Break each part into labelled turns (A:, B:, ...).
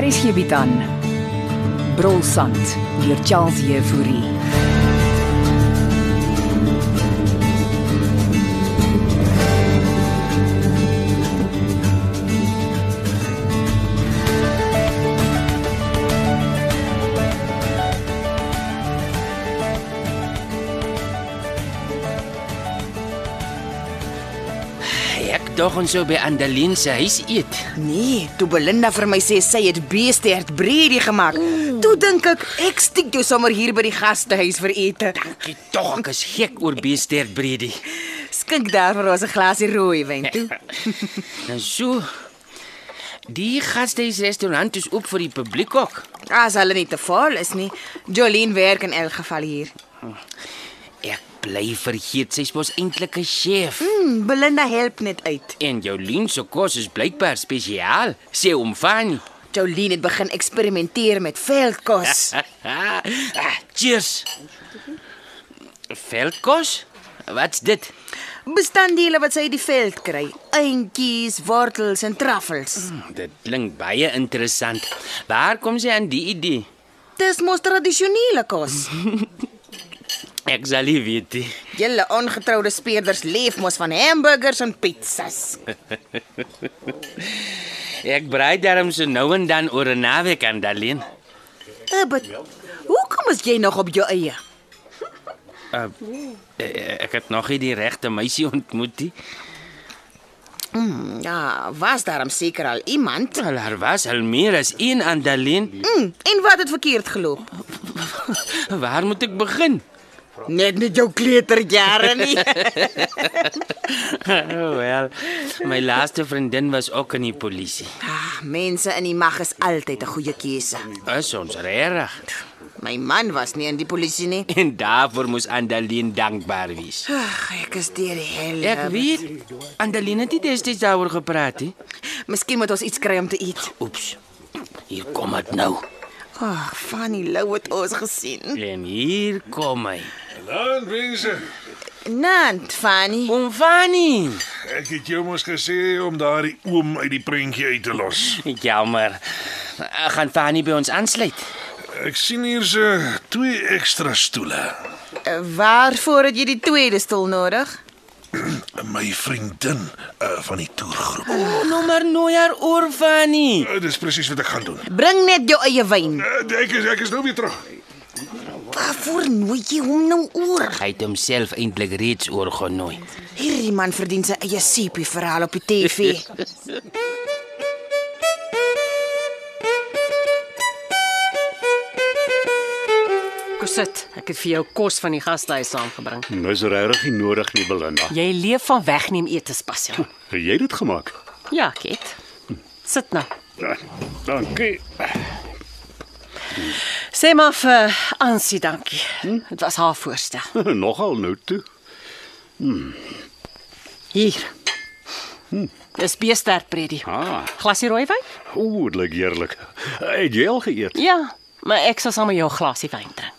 A: Hier is hierby dan. Brolsand deur Charles Jefouri.
B: Ek dog ons sou by Andeline se huis eet.
C: Nee, toe Belinda vir my sê sy het beesterd bredie gemaak. Toe dink ek ek stiek jou sommer hier by die gastehuis vir ete.
B: Dankie tog, ek is gek oor beesterd bredie.
C: Skink daarvoor ons 'n glasie rooi wyn toe.
B: Nou so. Die gastehuisrestaurant is oop vir die publiek ook.
C: As hulle nie te vol is nie. Jolene werk in elk geval hier.
B: Ek bly vergeet sy's mos eintlik 'n chef.
C: Hmm, Belinda help net uit.
B: En Jolien se kos is blykbaar spesiaal, sê oom Fanny.
C: Jolene het begin eksperimenteer met veldkos.
B: Ah, cheers. Veldkos? Wat's dit?
C: Bestanddele wat sy uit die veld kry. Eintjies, wortels en truffels.
B: Dit klink baie interessant. Waar kom sy aan die idee?
C: Dis mos tradisionele kos.
B: Ek sal nie weet nie.
C: Julle ongetroude speerders leef mos van hamburgers en pizzas.
B: Ek braai daarom so nou en dan oor 'n naweek aan Daleen.
C: Ebert, hoekom is jy nog op jou eie?
B: Uh, Eh, Ek het nog nie die regte meisie ontmoet nie.
C: Ja, was daarom seker al iemand.
B: Al haar was al meer as een aan Daleen.
C: Mm, en wat het verkeerd geloop?
B: Waar moet ek begin?
C: Net met jou kleuterjare nie.
B: Oh, wel, my laaste vriendin was ook in die polisie.
C: ah, mense in die mag is altyd 'n goeie keuse.
B: Is ons regtig?
C: My man was nie in die polisie nie.
B: En daarvoor moes Andaline dankbaar wees.
C: Ag, ek is deur die hel.
B: Ek weet Andaline het nie destyds daaroor gepraat nie.
C: Miskien moet ons iets kry om te eet.
B: Oeps. Hier kom dit nou.
C: Ag, Fanny Lou het ons gesien.
B: En hier kom hy.
D: Landwese,
C: Nant, Fanny.
B: Oom Fanny.
D: ek het jou mos gesê om daardie oom uit die prentjie uit te los.
B: Jammer. Ek gaan Fanny by ons aansluit.
D: Ek sien hier se twee ekstra stoele.
C: eh, Waarvoor het jy die tweede stoel nodig?
D: My vriendin uh, van die toergroep.
B: O, nou maar nooi haar oor Fanny.
D: Uh, dis presies wat ek gaan doen.
C: Bring net jou eie wyn.
D: Uh, ek is ek is nou weer terug.
C: Waarvoor nooi jy hom nou oor?
B: Hy het homself eintlik reeds oorgenooi.
C: Hierdie man verdien sy eie sepie verhaal op die TV.
E: Kosit, ek het vir jou kos van die gastehuis saamgebring.
F: Dis Nou regtig nie nodig nie, Belinda. Hm,
E: Jy leef van wegneem etes passie.
F: Het jy dit gemaak? Ja,
E: Ja, ek het. Sit nou.
F: Dankie.
E: Sê maar vir Ansie dankie. Dit was haar voorstel.
F: Nogal nou toe.
E: Hier. Dis beesterd predie.
F: Hm. Ah,
E: Glasie rooi wyn?
F: ooh, dit lyk heerlik. Het jy al geëet?
E: Ja, maar ek sal saam met jou 'n glasie wyn drink.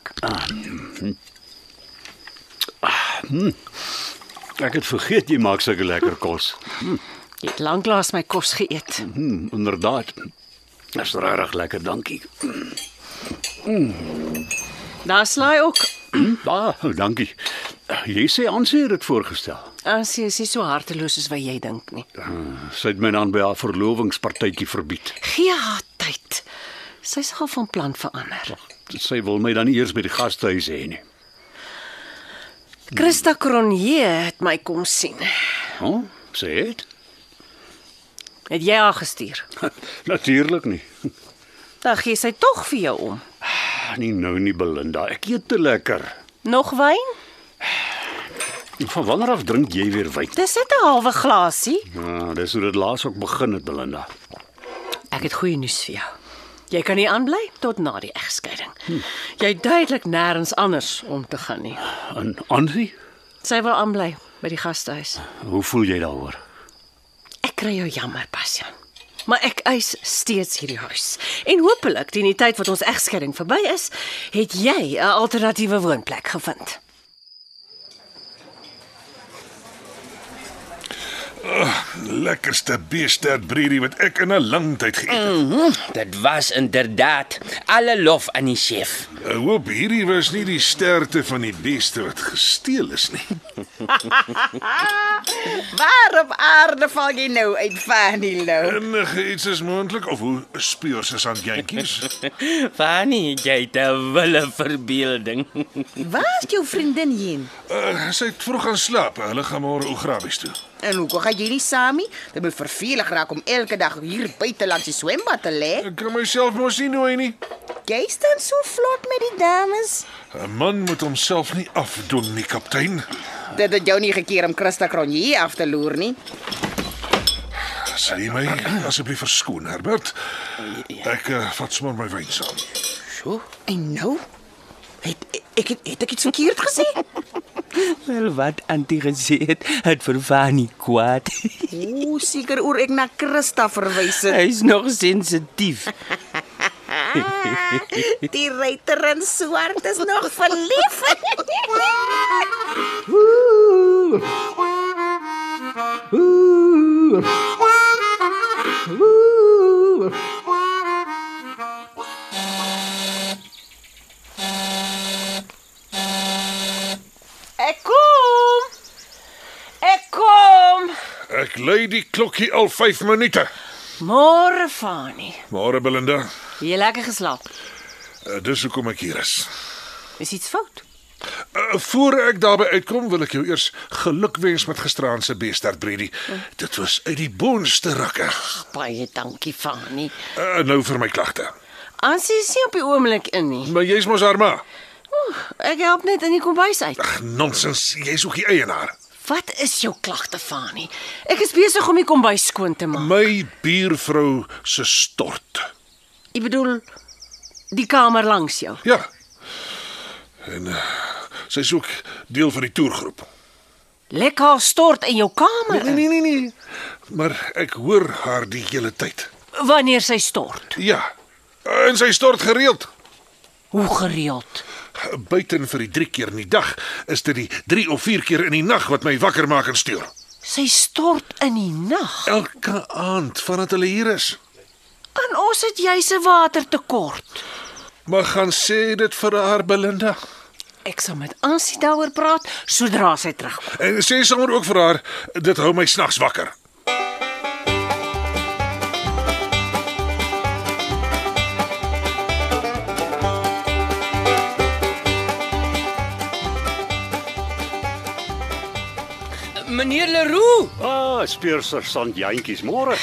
F: Ek het vergeet jy maak sulke lekker kos.
E: Jy het lanklaas my kos geëet.
F: Hmm, inderdaad. Dis regtig lekker, dankie.
E: Daar slaai ook.
F: Ah, dankie. Jy sê ons het dit voorgestel.
E: Ansie is nie so harteloos soos wat jy dink nie.
F: Sy het my dan by haar verlovingspartytjie verbied.
E: Gee haar tyd. Sy sal van plan verander.
F: Sy wil my dan nie eers by die gastehuis hê nie.
E: Christa Cronje het my kom sien.
F: Hæ? Huh? Sê dit?
E: Het jy haar gestuur?
F: Natuurlik nie.
E: Dan gee sy tog vir jou om.
F: Ah, nie nou nie, Belinda. Ek eet te lekker.
E: Nog wyn?
F: Van wanneer af drink jy weer wyn?
E: Dis net 'n halwe glasie.
F: Ja, dis hoe dit laas ook begin het, Belinda.
E: Ek het goeie nuus vir jou. Jy kan nie aanbly tot na die egskeiding. Hm. Jy het duidelik nêrens anders om te gaan nie.
F: En Ansie,
E: Sy wil aanbly by die gastehuis.
F: hoe voel jy daaroor?
E: Ek kry jou jammer, Bastian. maar ek eis steeds hierdie huis. En hopelik teen die tyd wat ons egskeiding verby is, het jy 'n alternatiewe woonplek gevind.
D: Lekkerste beesterd brierie wat ek in 'n lang tyd geëet het.
B: Dit was inderdaad alle lof aan die chef.
D: Ek Eh, hoop hierdie was nie die sterte van die beeste wat gesteel is nie.
C: Waar op aarde val jy nou uit, Fanny Lou?
D: Enige iets is moontlik of hoe speur se sandjantjies?
B: Fanny, jy het 'n wille verbeelding.
C: Waar is jou vriendin heen?
D: Uh, sy het vroeg gaan slaap. Hulle gaan môre Ograbies toe.
C: En hoekom gaan jy nie saam nie? Dit moet vervelig raak om elke dag hier buite langs die swembad te lê.
D: Ek kan myself mos nie nooi nie.
C: Jy staan so vlot met die dames.
D: 'n Man moet homself nie afdoen nie, kaptein.
C: Dit het jou nie gekeer om Christa Cronje af te loer nie.
D: Sê my asseblief verskoon, Herbert. Ek uh, vat sommer my wyn saam.
B: So,
C: En nou? Het ek het, het ek iets verkeerd gesê?
B: wel wat Antie gesê het, het vir Fanny kwaad.
C: O, seker oor ek na Christa verwys het.
B: Hy's nog sensitief.
C: Ah, Die ruiter in swart is nog verlief.
E: Ek kom. Ek kom.
D: Ek lei die klokkie al 5 minute.
E: Môre, Fani.
D: Môre Belinda.
E: Jy lekker geslaap.
D: Uh, dis hoekom ek hier is.
E: Is iets fout?
D: Uh, voor ek daarby uitkom, wil ek jou eers gelukwens met gisteraand se besterd breedie. Dit was uit die bonste rakke.
E: Baie dankie, Fani.
D: Uh, nou vir my klagte.
E: Ansie is nie op die oomblik in nie.
D: Maar jy's mos haar ma.
E: Oeh, Ek help net in die kombuis uit.
D: Ag, nonsens. Jy's ook die eienaar.
E: Wat is jou klagte, Fani? Ek is besig om die kombuis skoon te maak.
D: My buurvrou se stort.
E: Ek bedoel die kamer langs jou.
D: Ja. En uh, sy's ook deel van die toergroep.
E: Lek haar stort in jou kamer.
D: Nee nee nee nee. Maar ek hoor haar die hele tyd.
E: in, Wanneer sy stort.
D: Ja. En sy stort gereeld.
E: Hoe gereeld?
D: Buiten vir die 3 keer in die dag is dit die 3 of 4 keer in die nag wat my wakker maak en stuur.
E: Sy stort in die nag.
D: Elke aand vandat hulle hier is.
E: En ons het juis 'n watertekort.
D: Maar gaan sê dit vir haar Belinda.
E: Ek sal met Ansie daaroor praat sodra sy terugkom.
D: En sê sommer ook vir haar dit hou my snags wakker.
B: Meneer Leroux,
F: Ah, speurser sandjantjies, môre.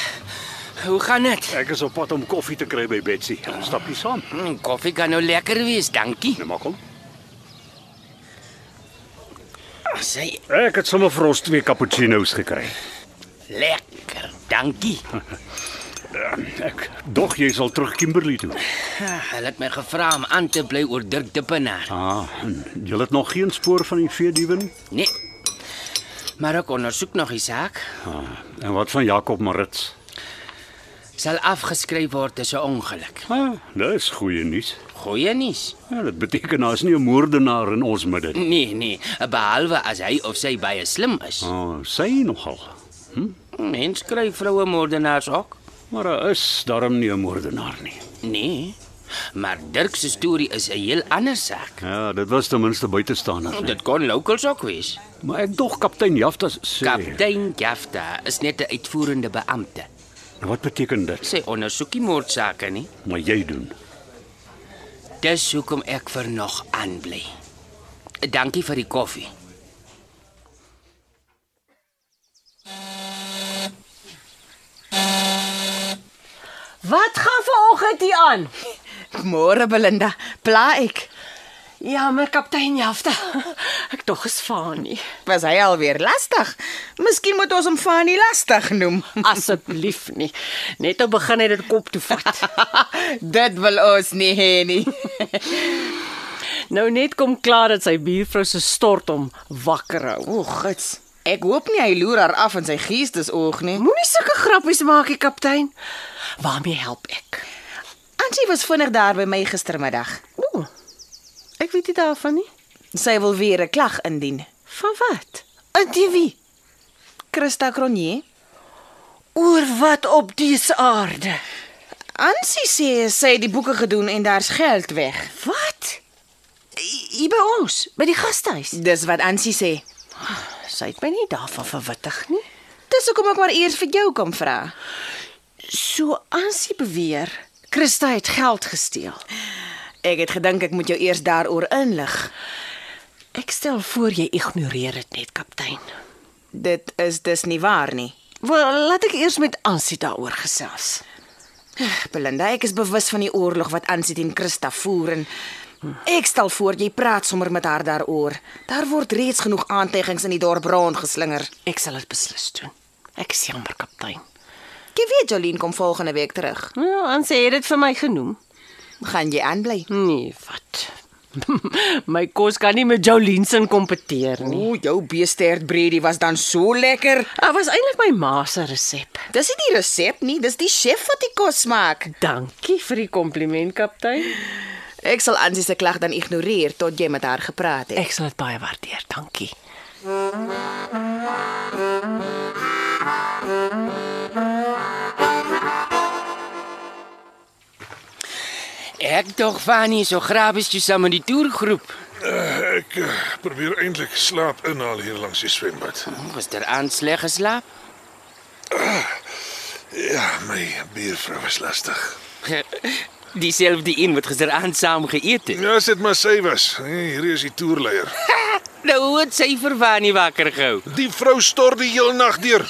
B: hoe gaan dit?
F: Ek is op pad om koffie te kry by Betsy. Stap jy saam?
B: Mm, Koffie kan nou lekker wees, dankie.
F: Nou maar kom.
B: Ag, Sy
F: Ek het sommer vir ons twee cappuccinos gekry.
B: lekker, dankie.
F: Ek dog jy sal terug Kimberley toe.
B: Ah, Hulle het my gevra om aan te bly oor Dirk Dippenaar.
F: Ah, en jy het nog geen spoor van die veeduwe nie.
B: Nee. Maar ek ondersoek nog die saak.
F: Ah, en wat van Jakob Marits?
B: Sal afgeskryf word as 'n ongeluk.
F: Ah, dis goeie nuus.
B: Goeie nuus.
F: Ja, dit beteken daar's nie 'n moordenaar in ons midde nie.
B: Nee, nee, behalwe as hy of sy baie slim is.
F: Ah, sy nogal.
B: Mens kry vroue moordenaars ook?
F: Maar daar is darm nie 'n moordenaar nie.
B: Nee. Maar Dirk se storie is 'n heel ander saak.
F: Ja, dit was ten minste buitestaanders. nie.
B: Dit kon locals ook wees.
F: Maar ek dog kaptein Jaftas sê.
B: Kaptein Jafta is net 'n uitvoerende beampte.
F: Wat beteken dit?
B: Sy ondersoek nie moordsake nie.
F: Maar jy doen.
B: Dis hoekom ek vir nog aanbly. Dankie vir die koffie.
E: Wat gaan vanoggend hier aan?
C: Môre Belinda, pla ek.
E: Jammer Ja, kaptein Jafta. Ek tog is Fani.
C: Was hy alweer lastig? Miskien moet ons hom Fanny lastig noem.
E: Asseblief nie. Net op begin het dit kop toe vat.
C: Dit wil ons nie hê nie.
E: Nou net kom klaar dat sy buurvrou se stort hom wakker hou.
C: O, gits. Ek hoop nie hy loer haar af in sy geestesoog nie.
E: Moenie sulke grappies maak, die kaptein. Waarmee help ek?
C: Ansie was vinnig daar by my gistermiddag.
E: O. Ek weet dit daarvan nie.
C: Sy wil weer 'n klag indien.
E: Van wat?
C: Indien wie? Christa Cronje.
E: Oor wat op dese aarde?
C: Ansie sê sy het die boeke gedoen en daar's geld weg.
E: Wat? I- Hier by ons, by die gastehuis.
C: Dis wat Ansie sê.
E: Sy het my nie daarvan verwittig nie.
C: Dis hoekom ek maar eers vir jou kom vra.
E: So Ansie beweer, Christa het geld gesteel.
C: Ek het gedink ek moet jou eers daaroor inlig.
E: Ek stel voor jy ignoreer dit net, kaptein.
C: Dit is dis nie waar nie.
E: Wel, laat ek eers met Ansie daaroor gesels.
C: Belinda, ek is bewus van die oorlog wat Ansie teen Christa voer en ek stel voor jy praat sommer met haar daaroor. Daar word reeds genoeg aanteigings in die dorp rondgeslinger.
E: Ek sal dit beslis doen. Ek is jammer, kaptein.
C: Jy weet Jolien kom volgende week terug.
E: Nou, Ansie het dit vir my genoem.
C: Gaan jy aanbly?
E: Nee, wat? my kos kan nie met Jolien se kompeteer nie.
C: O, jou beesterd breedie was dan so lekker.
E: Dit was eintlik my ma se resep.
C: Dis nie die resep nie, dis die chef wat die kos maak.
E: Dankie vir die kompliment, kaptein.
C: Ek sal Ansie se klag dan ignoreer tot jy met haar gepraat het.
E: Ek sal dit baie waardeer, dankie.
B: Ek dog van nie so graag is jy saam met die toergroep.
D: Eh, Ek eh, probeer eintlik slaap inhaal hier langs die swembad.
B: Gister aan sleg geslaap.
D: Ja, my buurvrou was lastig.
B: Dieselfde een wat gister aan saam geëet het.
D: Ja, as dit maar sy was. Hey, hier is die toerleier.
B: Nou hoe het sy vir Vanie wakker gehou.
D: Die vrou stort die heel nag deur.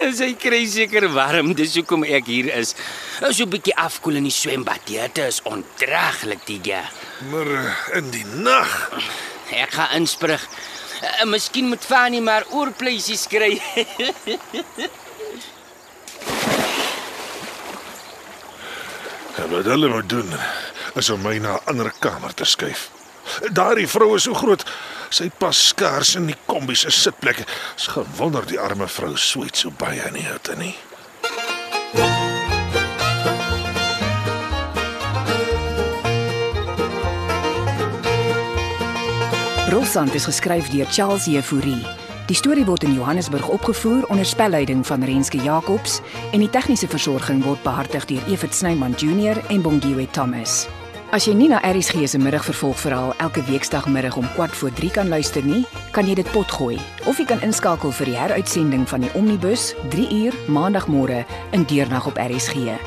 B: En sy kry seker warm, dis hoekom ek hier is. Ons so 'n bietjie afkoel in die swembad. Dit is ondraaglik die ja.
D: Maar eh, in die nag.
B: Ek gaan insprig. Eh, Miskien moet Vanie maar oorpleisies kry.
D: Ja, wat hulle moet doen is om my na 'n ander kamer te skuif. Daardie vrou is so groot. Sy pas skaars in die kombi se sitplek. Is gewonder die arme vrou sweet so baie in die hitte nie.
A: Brolsand is geskryf deur Charles Jefouri. Die storie word in Johannesburg opgevoer onder spelleiding van Renske Jacobs en die tegniese versorging word behartig deur Evit Snyman Junior en Bongwe Thomas. As jy nie na ERG se middagvervolgverhaal elke weekdagmiddag om 14:45 kan luister nie, kan jy dit potgooi of jy kan inskakel vir die heruitsending van die Omnibus 3 uur maandagmôre in deernag op ERG.